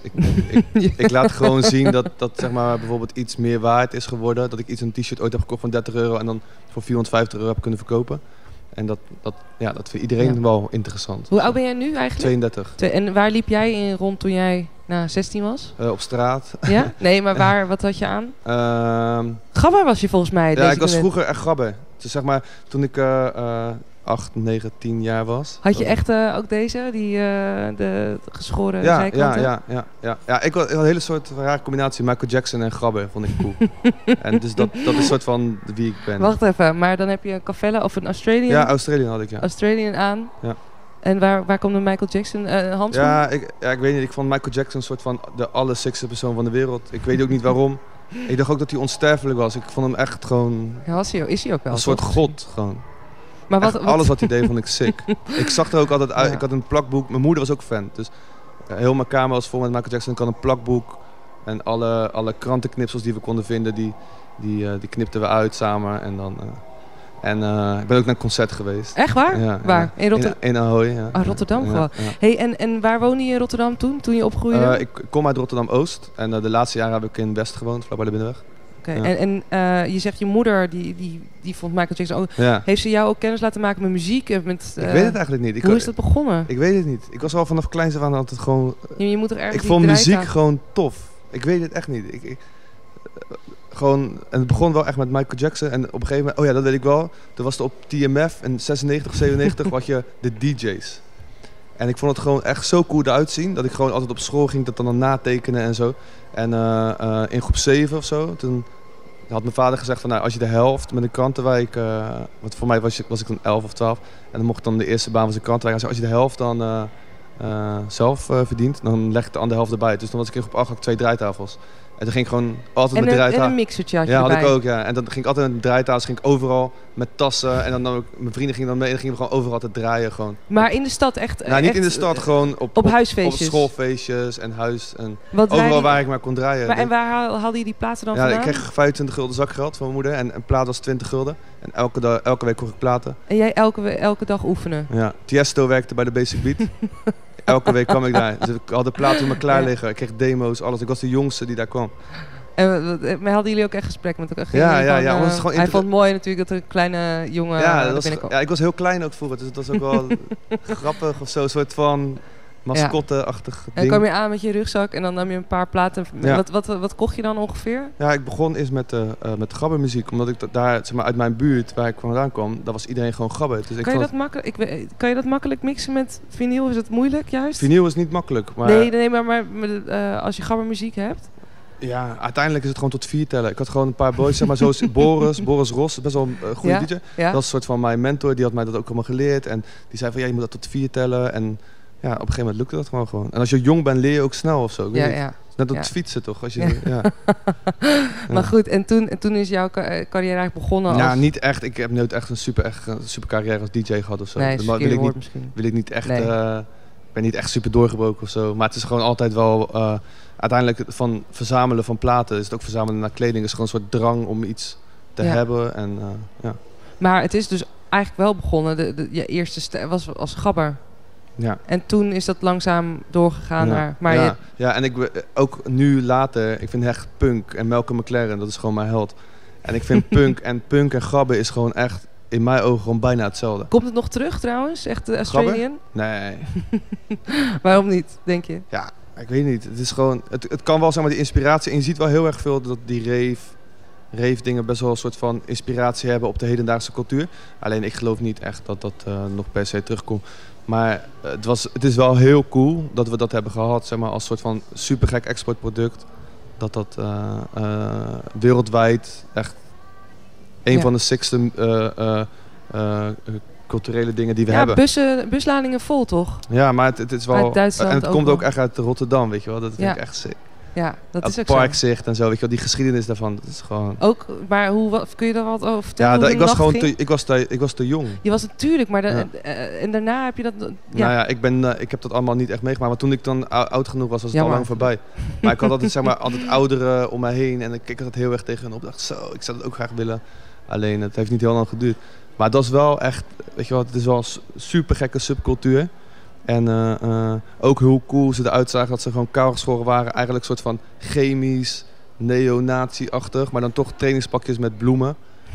[SPEAKER 2] Ik, ik, ik laat gewoon zien dat, dat zeg maar, bijvoorbeeld iets meer waard is geworden. Dat ik iets een t-shirt ooit heb gekocht van 30 euro en dan voor 450 euro heb kunnen verkopen. En dat, dat, ja, dat vindt iedereen
[SPEAKER 1] Ja.
[SPEAKER 2] wel interessant.
[SPEAKER 1] Hoe oud ben jij nu eigenlijk?
[SPEAKER 2] 32.
[SPEAKER 1] Twee- En waar liep jij in rond toen jij nou, 16 was?
[SPEAKER 2] Eh, op straat.
[SPEAKER 1] Ja? Nee, maar waar, wat had je aan?
[SPEAKER 2] Ehm,
[SPEAKER 1] Gabba was je volgens mij.
[SPEAKER 2] ja,
[SPEAKER 1] deze
[SPEAKER 2] ik was
[SPEAKER 1] moment.
[SPEAKER 2] vroeger echt grabber. Dus zeg maar, toen ik eh eh 8, 9, 10 jaar was.
[SPEAKER 1] Had je
[SPEAKER 2] dat-
[SPEAKER 1] echt eh, ook deze, die eh, de geschoren
[SPEAKER 2] ja, ja,
[SPEAKER 1] zijkanten?
[SPEAKER 2] ja, ja, ja. ja, ik had ik had een hele soort rare combinatie. Michael Jackson en grabber vond ik cool. en dus dat, dat is soort van wie ik ben.
[SPEAKER 1] Wacht even, maar dan heb je een Cavella of een Australian,
[SPEAKER 2] Ja, Australië had ik, ja.
[SPEAKER 1] Australian aan.
[SPEAKER 2] Ja.
[SPEAKER 1] En waar, waar komt de Michael Jackson eh handschoen?
[SPEAKER 2] Ja ik, ja, ik weet niet. Ik vond Michael Jackson een soort van de allersexste persoon van de wereld. Ik weet ook niet waarom. Ik dacht ook dat hij onsterfelijk was. Ik vond hem echt gewoon
[SPEAKER 1] Ja, was hij, ook- is hij ook wel.
[SPEAKER 2] een soort
[SPEAKER 1] toch?
[SPEAKER 2] god. Gewoon.
[SPEAKER 1] Maar wat,
[SPEAKER 2] Echt
[SPEAKER 1] wat-
[SPEAKER 2] Alles wat hij deed vond ik sick. ik zag er ook altijd uit.
[SPEAKER 1] Ja.
[SPEAKER 2] Ik had een plakboek. Mijn moeder was ook fan. Dus eh, heel mijn kamer was vol met Michael Jackson. Ik had een plakboek. En alle, alle krantenknipsels die we konden vinden, die, die, eh, die knipten we uit samen. En, dan, eh, en eh, ik ben ook naar een concert geweest.
[SPEAKER 1] Echt waar?
[SPEAKER 2] Ja,
[SPEAKER 1] Waar? In Rotterdam?
[SPEAKER 2] In, in Ahoy. Ja.
[SPEAKER 1] Ah, Rotterdam
[SPEAKER 2] Ja,
[SPEAKER 1] gewoon.
[SPEAKER 2] ja.
[SPEAKER 1] Hey, en, en waar woonde je in Rotterdam toen, toen je opgroeide?
[SPEAKER 2] Eh, ik kom uit Rotterdam-Oost en eh, de laatste jaren heb ik in West gewoond, vlakbij de Binnenweg.
[SPEAKER 1] Oké,
[SPEAKER 2] ja.
[SPEAKER 1] En, en eh, je zegt je moeder, die, die, die vond Michael Jackson ook.
[SPEAKER 2] Ja.
[SPEAKER 1] Heeft ze jou ook kennis laten maken met muziek? en Met,
[SPEAKER 2] ik
[SPEAKER 1] eh,
[SPEAKER 2] weet het eigenlijk niet. Ik,
[SPEAKER 1] hoe is dat begonnen?
[SPEAKER 2] ik weet het niet. Ik was al vanaf kleins af aan altijd gewoon...
[SPEAKER 1] je, je moet er ergens
[SPEAKER 2] ik vond
[SPEAKER 1] die
[SPEAKER 2] muziek
[SPEAKER 1] draait aan.
[SPEAKER 2] gewoon tof. Ik weet het echt niet. Ik, ik, eh, gewoon, en het begon wel echt met Michael Jackson en op een gegeven moment... Oh ja, dat weet ik wel. Toen was er op TMF in 96, 97 had je de DJ's. En ik vond het gewoon echt zo cool eruit zien. Dat ik gewoon altijd op school ging dat dan, dan natekenen en zo. En eh, eh, in groep 7 of zo, toen had mijn vader gezegd van... Nou, als je de helft met een krantenwijk... eh want voor mij was, je- was ik dan 11 of 12. En dan mocht ik dan de eerste baan was een krantenwijk. Hij zei, als je de helft dan eh, eh, zelf eh, verdient, dan leg ik de andere helft erbij. Dus dan was ik in groep 8 had ik twee draaitafels. En toen ging ik gewoon altijd
[SPEAKER 1] En
[SPEAKER 2] met
[SPEAKER 1] een, en
[SPEAKER 2] draaitafel...
[SPEAKER 1] een mixertje had je
[SPEAKER 2] Ja, had
[SPEAKER 1] erbij.
[SPEAKER 2] ik ook, ja. En dan ging ik altijd met draaitafels, ging ik overal met tassen. En dan nam ik, mijn vrienden gingen dan mee en dan gingen we gewoon overal te draaien. Gewoon.
[SPEAKER 1] Maar in de stad echt?
[SPEAKER 2] nou, niet
[SPEAKER 1] echt,
[SPEAKER 2] in de stad,
[SPEAKER 1] eh,
[SPEAKER 2] gewoon op,
[SPEAKER 1] Op
[SPEAKER 2] op, op
[SPEAKER 1] huisfeestjes?
[SPEAKER 2] schoolfeestjes en huis. En
[SPEAKER 1] Want wij-
[SPEAKER 2] overal waar ik maar kon draaien.
[SPEAKER 1] Maar,
[SPEAKER 2] Dus-
[SPEAKER 1] en waar haal- haalde je die platen dan
[SPEAKER 2] ja, ik
[SPEAKER 1] vandaan?
[SPEAKER 2] kreeg 25 gulden zakgeld van mijn moeder en een plaat was 20 gulden. En elke, da- elke week kocht ik platen.
[SPEAKER 1] En jij elke, we- elke dag oefenen?
[SPEAKER 2] Ja. Tiesto werkte bij de Basic Beat. elke week kwam ik daar. Dus ik had de platen in me klaar
[SPEAKER 1] Ja.
[SPEAKER 2] liggen. Ik kreeg demo's, alles. Ik was de jongste die daar kwam.
[SPEAKER 1] En wat- wat- maar hadden jullie ook echt gesprek met elkaar? Gingen
[SPEAKER 2] Ja,
[SPEAKER 1] jullie
[SPEAKER 2] ja,
[SPEAKER 1] van,
[SPEAKER 2] ja, want het is
[SPEAKER 1] eh,
[SPEAKER 2] gewoon
[SPEAKER 1] hij
[SPEAKER 2] inter-
[SPEAKER 1] vond het mooi natuurlijk dat er een kleine jongen
[SPEAKER 2] ja,
[SPEAKER 1] ja,
[SPEAKER 2] dat was,
[SPEAKER 1] binnenkwam.
[SPEAKER 2] ja, ik was heel klein ook vroeger. Dus het was ook wel grappig of zo. Een soort van mascotte-achtig
[SPEAKER 1] En dan
[SPEAKER 2] ding.
[SPEAKER 1] kwam je aan met je rugzak en dan nam je een paar platen.
[SPEAKER 2] Ja.
[SPEAKER 1] Wat, wat, wat kocht je dan ongeveer?
[SPEAKER 2] Ja, ik begon eerst met, eh eh, met gabbermuziek. Omdat ik dat daar, zeg maar, uit mijn buurt waar ik vandaan kwam, daar was iedereen gewoon gabber. Dus ik
[SPEAKER 1] Kan je,
[SPEAKER 2] vond
[SPEAKER 1] dat makkelijk, ik, weet- kan je dat makkelijk mixen met vinyl? Is dat moeilijk juist?
[SPEAKER 2] Vinyl is niet makkelijk, maar
[SPEAKER 1] nee, nee, maar, maar, maar, eh, als je gabbermuziek hebt.
[SPEAKER 2] ja, uiteindelijk is het gewoon tot vier tellen. Ik had gewoon een paar boys, zeg maar, zoals Boris, Boris Ros, best wel een eh, goede
[SPEAKER 1] Ja,
[SPEAKER 2] DJ.
[SPEAKER 1] Ja?
[SPEAKER 2] Dat was een soort van mijn mentor, die had mij dat ook allemaal geleerd. En die zei van, ja, je moet dat tot vier tellen. En ja, op een gegeven moment lukte dat gewoon gewoon. En als je jong bent, leer je ook snel of zo. Ik weet
[SPEAKER 1] ja,
[SPEAKER 2] niet.
[SPEAKER 1] ja.
[SPEAKER 2] Net op
[SPEAKER 1] ja.
[SPEAKER 2] het fietsen toch? Als je,
[SPEAKER 1] Ja.
[SPEAKER 2] ja. Ja.
[SPEAKER 1] Maar goed, en toen, en toen is jouw ca- eh, carrière eigenlijk begonnen als...
[SPEAKER 2] niet echt. Ik heb nooit echt een super, echt, een super carrière als DJ gehad of zo.
[SPEAKER 1] nee,
[SPEAKER 2] Dat
[SPEAKER 1] is
[SPEAKER 2] wil
[SPEAKER 1] het
[SPEAKER 2] ik
[SPEAKER 1] verkeerde
[SPEAKER 2] niet
[SPEAKER 1] woord misschien.
[SPEAKER 2] wil ik niet echt.
[SPEAKER 1] Nee.
[SPEAKER 2] eh, ik ben niet echt super doorgebroken of zo. Maar het is gewoon altijd wel. eh, uiteindelijk van verzamelen van platen is het ook verzamelen naar kleding. is gewoon een soort drang om iets te
[SPEAKER 1] Ja.
[SPEAKER 2] hebben. En, eh, ja.
[SPEAKER 1] Maar het is dus eigenlijk wel begonnen. De, de- je eerste ster was als gabber.
[SPEAKER 2] Ja.
[SPEAKER 1] En toen is dat langzaam doorgegaan
[SPEAKER 2] ja.
[SPEAKER 1] naar... Maar
[SPEAKER 2] ja.
[SPEAKER 1] je,
[SPEAKER 2] ja, en ik be- ook nu later. Ik vind echt punk en Malcolm McLaren. Dat is gewoon mijn held. En ik vind punk en punk en grabben is gewoon echt in mijn ogen gewoon bijna hetzelfde.
[SPEAKER 1] komt het nog terug trouwens? Echt de
[SPEAKER 2] Gabber?
[SPEAKER 1] Australian?
[SPEAKER 2] Nee.
[SPEAKER 1] Waarom niet, denk je?
[SPEAKER 2] Ik weet niet. Het is gewoon. Het, het kan wel zeg maar die inspiratie. En je ziet wel heel erg veel dat die rave, rave dingen best wel een soort van inspiratie hebben op de hedendaagse cultuur. Alleen ik geloof niet echt dat dat eh, nog per se terugkomt. Maar eh, het, was, het is wel heel cool dat we dat hebben gehad. Zeg maar als soort van supergek exportproduct. Dat dat eh, eh, wereldwijd echt een
[SPEAKER 1] Ja.
[SPEAKER 2] van de sixte eh, eh, eh, culturele dingen die we
[SPEAKER 1] ja,
[SPEAKER 2] hebben.
[SPEAKER 1] bussen, busladingen vol toch?
[SPEAKER 2] Ja, maar het, het is wel.
[SPEAKER 1] Uit Duitsland
[SPEAKER 2] en het
[SPEAKER 1] ook
[SPEAKER 2] komt ook
[SPEAKER 1] wel.
[SPEAKER 2] echt uit Rotterdam, weet je wel. Dat vind
[SPEAKER 1] Ja.
[SPEAKER 2] ik echt sick
[SPEAKER 1] Ja, dat
[SPEAKER 2] dat
[SPEAKER 1] is ook zo.
[SPEAKER 2] parkzicht en zo, weet je wel, die geschiedenis daarvan, dat is gewoon...
[SPEAKER 1] Ook, maar hoe, wat, kun je daar wat over vertellen?
[SPEAKER 2] ja,
[SPEAKER 1] hoe
[SPEAKER 2] dat-
[SPEAKER 1] de
[SPEAKER 2] ik
[SPEAKER 1] nacht
[SPEAKER 2] was gewoon
[SPEAKER 1] ging?
[SPEAKER 2] te, ik was te, ik was te jong.
[SPEAKER 1] Je was natuurlijk, maar de-
[SPEAKER 2] Ja.
[SPEAKER 1] eh, en daarna heb je dat... Ja,
[SPEAKER 2] Nou ja, ik, ben, eh, ik heb dat allemaal niet echt meegemaakt, want toen ik dan ou- oud genoeg was, was het al
[SPEAKER 1] Jammer.
[SPEAKER 2] lang voorbij. Maar ik had altijd, zeg maar, altijd ouderen om mij heen en ik keek dat heel erg tegen hen op. dacht, zo, ik zou dat ook graag willen. Alleen, het heeft niet heel lang geduurd. Maar dat is wel echt, weet je wel, het is wel een super gekke subcultuur. En eh, eh, ook hoe cool ze eruit zagen dat ze gewoon kaalgeschoren waren. Eigenlijk een soort van chemisch, neonazi-achtig. Maar dan toch trainingspakjes met bloemen.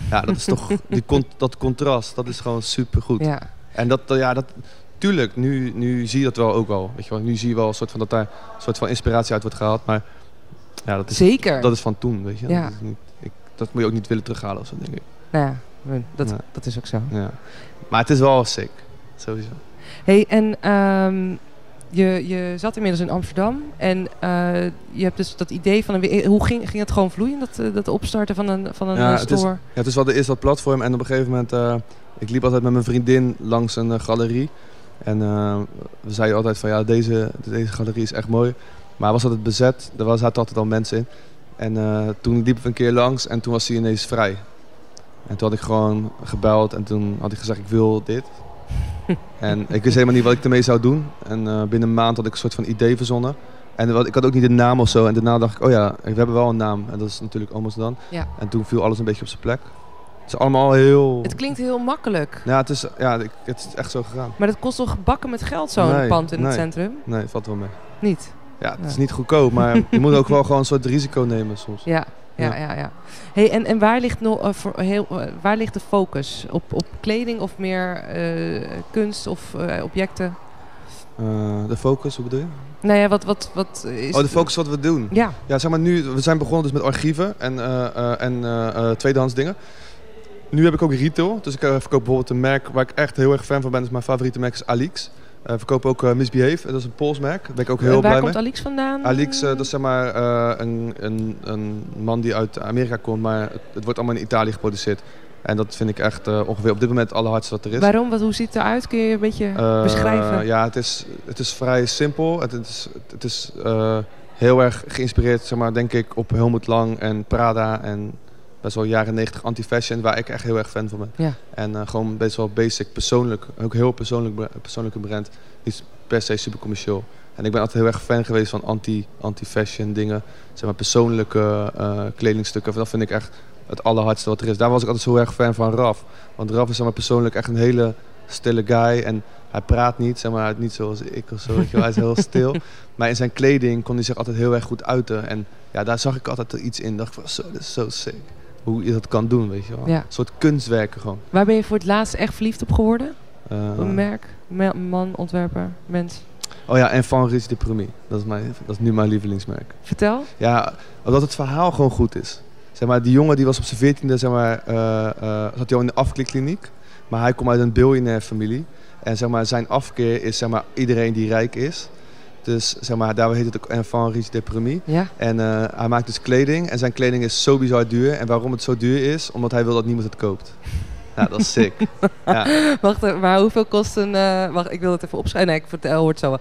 [SPEAKER 2] Ja, dat is toch die con- dat contrast. Dat is gewoon super goed.
[SPEAKER 1] ja.
[SPEAKER 2] En dat, eh, ja, dat, tuurlijk, nu, nu zie je dat wel ook al. Weet je wel, nu zie je wel een soort van dat daar een soort van inspiratie uit wordt gehaald. Maar ja, dat is,
[SPEAKER 1] zeker.
[SPEAKER 2] dat is van toen, weet je.
[SPEAKER 1] Ja.
[SPEAKER 2] Dat, is niet, ik, dat moet je ook niet willen terughalen of zo, denk ik.
[SPEAKER 1] Nou ja, dat,
[SPEAKER 2] Ja.
[SPEAKER 1] dat is ook zo.
[SPEAKER 2] Ja. Maar het is wel sick, sowieso.
[SPEAKER 1] hey, en ehm, je, je zat inmiddels in Amsterdam en eh, je hebt dus dat idee van... Een, we- hoe ging, ging het gewoon vloeien, dat, eh, dat opstarten van een, van een
[SPEAKER 2] Ja,
[SPEAKER 1] eh,
[SPEAKER 2] het is-
[SPEAKER 1] store?
[SPEAKER 2] Ja, dus we hadden eerst dat platform en op een gegeven moment... eh, ik liep altijd met mijn vriendin langs een eh, galerie. En eh, we zeiden altijd van ja, deze, deze galerie is echt mooi. Maar was altijd bezet, er was- zaten altijd al mensen in. En eh, toen liepen we een keer langs en toen was hij ineens vrij. En toen had ik gewoon gebeld en toen had ik gezegd ik wil dit. en ik wist helemaal niet wat ik ermee zou doen. En eh, binnen een maand had ik een soort van idee verzonnen. En wat, ik had ook niet een naam of zo. En daarna dacht ik, oh ja, we hebben wel een naam. En dat is natuurlijk Almost dan.
[SPEAKER 1] Ja.
[SPEAKER 2] En toen viel alles een beetje op zijn plek. Het is allemaal heel...
[SPEAKER 1] Het klinkt heel makkelijk,
[SPEAKER 2] Ja, het is, ja, ik- het is echt zo gegaan.
[SPEAKER 1] maar dat kost toch bakken met geld zo'n
[SPEAKER 2] Nee,
[SPEAKER 1] pand in het
[SPEAKER 2] nee.
[SPEAKER 1] centrum?
[SPEAKER 2] Nee, het valt wel mee.
[SPEAKER 1] Niet?
[SPEAKER 2] Ja, het is
[SPEAKER 1] Ja.
[SPEAKER 2] niet goedkoop, maar je moet ook wel gewoon een soort risico nemen soms.
[SPEAKER 1] Ja, ja, ja.
[SPEAKER 2] Ja.
[SPEAKER 1] ja, Hey, en, en waar, ligt nog, eh, voor heel, eh, waar ligt de focus? Op, op kleding of meer eh, kunst of eh, objecten?
[SPEAKER 2] Eh, de focus, hoe bedoel je?
[SPEAKER 1] Nou ja, wat, wat, wat is...
[SPEAKER 2] oh, de focus wat we doen.
[SPEAKER 1] Ja,
[SPEAKER 2] Ja, zeg maar nu, we zijn begonnen dus met archieven en, eh, eh, en eh, eh, tweedehands dingen. Nu heb ik ook retail, dus ik eh, verkoop bijvoorbeeld een merk waar ik echt heel erg fan van ben. Dus mijn favoriete merk is Alix. Eh verkoop ook eh, Misbehave, dat is een Pools merk. Daar ben ik ook heel
[SPEAKER 1] en waar
[SPEAKER 2] blij mee.
[SPEAKER 1] komt Alix vandaan?
[SPEAKER 2] Alix, eh, dat is zeg maar eh, een, een, een man die uit Amerika komt, maar het, het wordt allemaal in Italië geproduceerd. En dat vind ik echt eh, ongeveer op dit moment het allerhardste wat er is.
[SPEAKER 1] Waarom? Wat, hoe ziet het eruit? Kun je een beetje
[SPEAKER 2] Eh,
[SPEAKER 1] beschrijven?
[SPEAKER 2] Ja, het is, het is vrij simpel. Het, het is, het is eh, heel erg geïnspireerd, zeg maar, denk ik, op Helmut Lang en Prada en best wel jaren 90 anti-fashion, waar ik echt heel erg fan van ben.
[SPEAKER 1] Ja.
[SPEAKER 2] En eh, gewoon best wel basic, persoonlijk, ook heel persoonlijk, bra- persoonlijke brand. Niet per se super commercieel. En ik ben altijd heel erg fan geweest van anti- anti-fashion dingen, zeg maar persoonlijke eh, kledingstukken. Dat vind ik echt het allerhardste wat er is. Daar was ik altijd zo erg fan van Raf. Want Raf is zeg maar, persoonlijk echt een hele stille guy. En hij praat niet, zeg maar, hij is niet zoals ik of zo. weet je wel. Hij is heel stil. Maar in zijn kleding kon hij zich altijd heel erg goed uiten. En ja, daar zag ik altijd iets in. Dacht ik van, zo, dat is zo sick. Hoe je dat kan doen, weet je wel.
[SPEAKER 1] Ja.
[SPEAKER 2] Een soort kunstwerken gewoon.
[SPEAKER 1] Waar ben je voor het laatst echt verliefd op geworden?
[SPEAKER 2] Eh,
[SPEAKER 1] Een merk, me- man, ontwerper, mens?
[SPEAKER 2] Oh ja, en Van Ries de Premier. Dat is, mijn, dat is nu mijn lievelingsmerk.
[SPEAKER 1] Vertel.
[SPEAKER 2] Ja, omdat het verhaal gewoon goed is. Zeg maar, die jongen die was op zijn veertiende, zeg maar, eh eh, zat hij al in de afklikkliniek. Maar hij komt uit een biljonair familie. En zeg maar, zijn afkeer is zeg maar, iedereen die rijk is. Dus zeg maar, daar heet het ook enfant riche deprimie.
[SPEAKER 1] Ja.
[SPEAKER 2] En eh, hij maakt dus kleding. En zijn kleding is zo bizar duur. En waarom het zo duur is? Omdat hij wil dat niemand het koopt. Nou, dat is sick.
[SPEAKER 1] Wacht, even, maar hoeveel kost een... eh, wacht, ik wil het even opschrijven. Nee, ik vertel, hoort zo wel.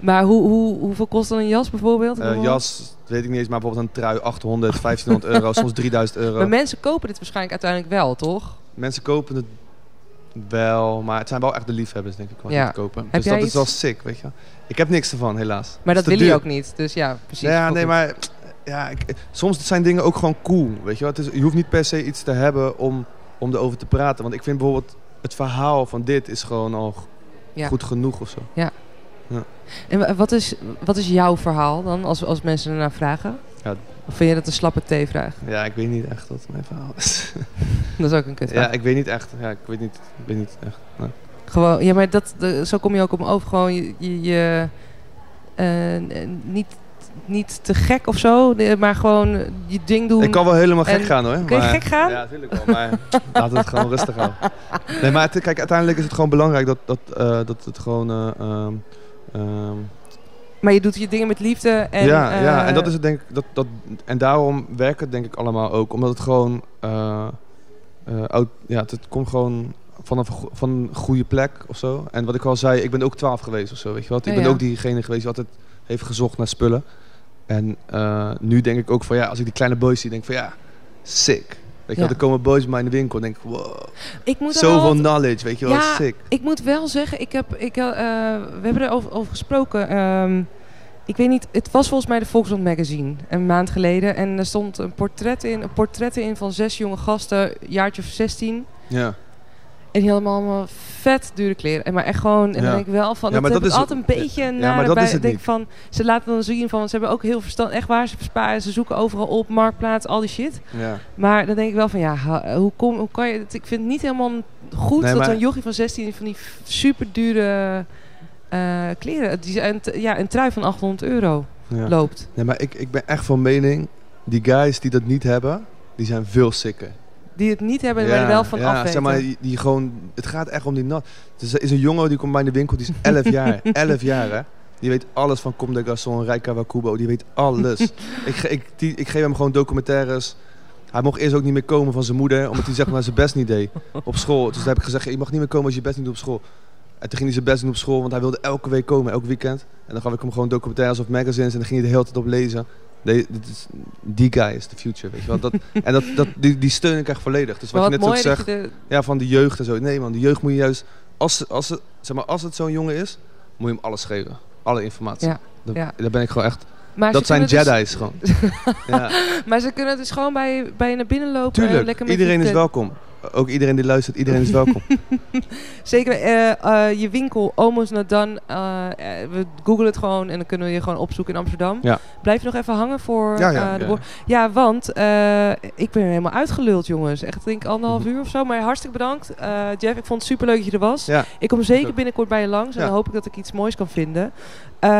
[SPEAKER 1] Maar hoe, hoe, hoeveel kost dan een jas bijvoorbeeld? Ik
[SPEAKER 2] Eh,
[SPEAKER 1] bedoel-
[SPEAKER 2] jas, weet ik niet eens, maar bijvoorbeeld een trui, 800, 1500 euro, soms 3000 euro.
[SPEAKER 1] Maar mensen kopen dit waarschijnlijk uiteindelijk wel, toch?
[SPEAKER 2] Mensen kopen het wel, maar het zijn wel echt de liefhebbers, denk ik, wat
[SPEAKER 1] Ja.
[SPEAKER 2] het kopen.
[SPEAKER 1] Heb
[SPEAKER 2] dus
[SPEAKER 1] jij
[SPEAKER 2] dat
[SPEAKER 1] iets?
[SPEAKER 2] is wel sick, weet je. wel. Ik heb niks ervan, helaas.
[SPEAKER 1] Maar dat
[SPEAKER 2] Het
[SPEAKER 1] wil
[SPEAKER 2] is te
[SPEAKER 1] je
[SPEAKER 2] duur.
[SPEAKER 1] ook niet. Dus ja, precies.
[SPEAKER 2] Ja,
[SPEAKER 1] Goed.
[SPEAKER 2] nee, maar ja, ik- soms zijn dingen ook gewoon cool, weet je wel. Het is, je hoeft niet per se iets te hebben om, om erover te praten. Want ik vind bijvoorbeeld het verhaal van dit is gewoon al g-
[SPEAKER 1] Ja.
[SPEAKER 2] goed genoeg of zo.
[SPEAKER 1] En wa- wat is, wat is jouw verhaal dan, als, als mensen ernaar vragen?
[SPEAKER 2] Ja.
[SPEAKER 1] Of vind je dat een slappe theevraag?
[SPEAKER 2] Ja, ik weet niet echt wat mijn verhaal is.
[SPEAKER 1] Dat is ook een kutvraag.
[SPEAKER 2] ja, ik weet niet echt. Ja, ik weet niet, ik weet niet echt. Nee.
[SPEAKER 1] Gewoon, ja, maar dat, de- zo kom je ook om over. Gewoon je, je, je, eh, n- niet, niet te gek of zo, de- maar gewoon je ding doen.
[SPEAKER 2] Ik kan wel helemaal gek
[SPEAKER 1] En-
[SPEAKER 2] gaan hoor.
[SPEAKER 1] Kun je gek gaan?
[SPEAKER 2] Ja, natuurlijk wel. Maar laten we het gewoon rustig houden. Nee, maar het- kijk, uiteindelijk is het gewoon belangrijk dat, dat, eh, dat het gewoon... eh, ehm, ehm,
[SPEAKER 1] Maar je doet je dingen met liefde. En,
[SPEAKER 2] ja, ja,
[SPEAKER 1] eh,
[SPEAKER 2] en dat is het denk ik... Dat, dat, en daarom werkt het denk ik allemaal ook. Omdat het gewoon... eh, eh, oud, ja, het, het komt gewoon van een, go- van een goede plek of zo. En wat ik al zei, ik ben ook twaalf geweest of zo. Weet je wat? Ik
[SPEAKER 1] Ja,
[SPEAKER 2] ben
[SPEAKER 1] ja.
[SPEAKER 2] ook diegene geweest die altijd heeft gezocht naar spullen. En eh, nu denk ik ook van ja, als ik die kleine boys zie, denk ik van ja, sick. Weet je
[SPEAKER 1] Ja.
[SPEAKER 2] wel, er komen boys bij mij in de winkel en denk ik, wow,
[SPEAKER 1] ik moet er wel
[SPEAKER 2] zoveel
[SPEAKER 1] wat-
[SPEAKER 2] knowledge, weet je wel,
[SPEAKER 1] Ja,
[SPEAKER 2] sick.
[SPEAKER 1] Ik moet wel zeggen, ik heb, ik, eh, eh, we hebben er over, over gesproken. ehm, ik weet niet, het was volgens mij de Volkskrant magazine een maand geleden. En er stond een portret in, een portretten in van zes jonge gasten, jaartje of 16.
[SPEAKER 2] Ja,
[SPEAKER 1] En die hadden allemaal vet dure kleren. En maar echt gewoon, en
[SPEAKER 2] Ja.
[SPEAKER 1] dan denk ik wel van,
[SPEAKER 2] Ja,
[SPEAKER 1] dat,
[SPEAKER 2] maar
[SPEAKER 1] heb
[SPEAKER 2] dat
[SPEAKER 1] ik
[SPEAKER 2] is-
[SPEAKER 1] altijd een beetje naar
[SPEAKER 2] maar dat
[SPEAKER 1] bij,
[SPEAKER 2] is het
[SPEAKER 1] denk
[SPEAKER 2] niet.
[SPEAKER 1] van, ze laten dan zien van, want ze hebben ook heel verstand, echt waar, ze besparen, ze zoeken overal op, marktplaats, al die shit.
[SPEAKER 2] ja.
[SPEAKER 1] Maar dan denk ik wel van ja, ha- hoe, kom, hoe kan je het? Ik vind het niet helemaal goed
[SPEAKER 2] Nee,
[SPEAKER 1] dat
[SPEAKER 2] maar-
[SPEAKER 1] een jochie van 16 van die super dure kleren, die, een, t- ja, een trui van 800 euro
[SPEAKER 2] ja.
[SPEAKER 1] loopt.
[SPEAKER 2] Nee, maar ik, ik ben echt van mening, die guys die dat niet hebben, die zijn veel sicker.
[SPEAKER 1] Die het niet hebben, maar er wel van
[SPEAKER 2] ja,
[SPEAKER 1] afweten.
[SPEAKER 2] Zeg maar, die, die gewoon, het gaat echt om die nat. Dus er is een jongen die komt bij in de winkel, die is 11 jaar. 11 jaar, hè? Die weet alles van Comme des Garçons, Rijka Wakubo. Die weet alles. ik, ge- ik, die- ik geef hem gewoon documentaires. Hij mocht eerst ook niet meer komen van zijn moeder, omdat hij zeg maar zijn best niet deed op school. Dus toen heb ik gezegd, je mag niet meer komen als je je best niet doet op school. En toen ging hij zijn best doen op school, want hij wilde elke week komen, elk weekend. En dan gaf ik hem gewoon documentaires of magazines en dan ging hij de hele tijd op lezen. Nee, dit is, die guy is the future, weet je wel. Dat, en dat, dat, die, die steun ik echt volledig. Dus wat,
[SPEAKER 1] maar
[SPEAKER 2] je
[SPEAKER 1] wat
[SPEAKER 2] net ook
[SPEAKER 1] mooi
[SPEAKER 2] zegt,
[SPEAKER 1] dat je de,
[SPEAKER 2] ja, van de jeugd en zo. Nee man, de jeugd moet je juist... Als, ze- als, ze- zeg maar, als het zo'n jongen is, moet je hem alles geven. Alle informatie.
[SPEAKER 1] Ja,
[SPEAKER 2] Dat-
[SPEAKER 1] ja.
[SPEAKER 2] Daar ben ik gewoon echt...
[SPEAKER 1] maar
[SPEAKER 2] dat
[SPEAKER 1] ze
[SPEAKER 2] zijn
[SPEAKER 1] kunnen dus-
[SPEAKER 2] Jedi's gewoon. ja,
[SPEAKER 1] maar ze kunnen dus gewoon bij, bij je naar binnen lopen. en
[SPEAKER 2] tuurlijk.
[SPEAKER 1] lekker met
[SPEAKER 2] Iedereen
[SPEAKER 1] je
[SPEAKER 2] is
[SPEAKER 1] tent-
[SPEAKER 2] welkom. Ook iedereen die luistert, iedereen is welkom.
[SPEAKER 1] Zeker eh, eh, je winkel, Omos Nadan. eh, eh, we googlen het gewoon en dan kunnen we je gewoon opzoeken in Amsterdam.
[SPEAKER 2] Ja.
[SPEAKER 1] Blijf je nog even hangen voor
[SPEAKER 2] Ja, ja,
[SPEAKER 1] eh, de
[SPEAKER 2] ja.
[SPEAKER 1] boer- Ja, want eh, ik ben helemaal uitgeluld, jongens. Echt, ik denk anderhalf uur of zo. Maar hartstikke bedankt, eh, Jeff. Ik vond het superleuk dat je er was.
[SPEAKER 2] Ja.
[SPEAKER 1] Ik kom zeker binnenkort bij je langs. En
[SPEAKER 2] Ja.
[SPEAKER 1] dan hoop ik dat ik iets moois kan vinden.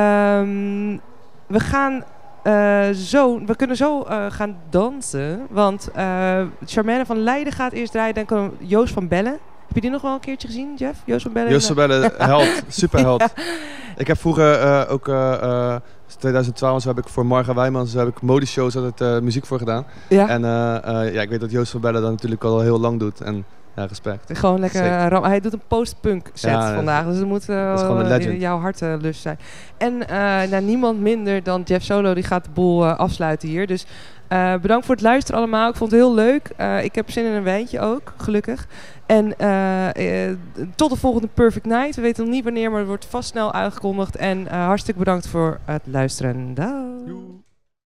[SPEAKER 1] Ehm, we gaan... eh, zo, we kunnen zo eh, gaan dansen. Want eh Charmaine van Leiden gaat eerst draaien. Dan kan Joost van Bellen. Heb je die nog wel een keertje gezien, Jeff? Joost van Bellen? eh,
[SPEAKER 2] Joost Sabelle, held. Superheld. Ik heb vroeger eh, ook... eh, eh, 2012 heb ik voor Marga Wijmans heb ik modeshows altijd eh, muziek voor gedaan.
[SPEAKER 1] Ja,
[SPEAKER 2] En eh, eh, ja, ik weet dat Joost van Bellen dat natuurlijk al heel lang doet. En ja, respect.
[SPEAKER 1] gewoon lekker
[SPEAKER 2] Zeker.
[SPEAKER 1] eh, ram. Hij doet een post-punk set
[SPEAKER 2] Ja, dat-
[SPEAKER 1] vandaag. Dus het moet eh,
[SPEAKER 2] is gewoon een
[SPEAKER 1] wel, eh,
[SPEAKER 2] legend.
[SPEAKER 1] jouw hartlust zijn. En eh, nou, niemand minder dan Jeff Solo, die gaat de boel eh, afsluiten hier. Dus eh, bedankt voor het luisteren allemaal. Ik vond het heel leuk. Eh, ik heb zin in een wijntje ook, gelukkig. En eh, eh, tot de volgende Perfect Night. We weten nog niet wanneer, maar het wordt vast snel aangekondigd. En eh, hartstikke bedankt voor het luisteren. Dag.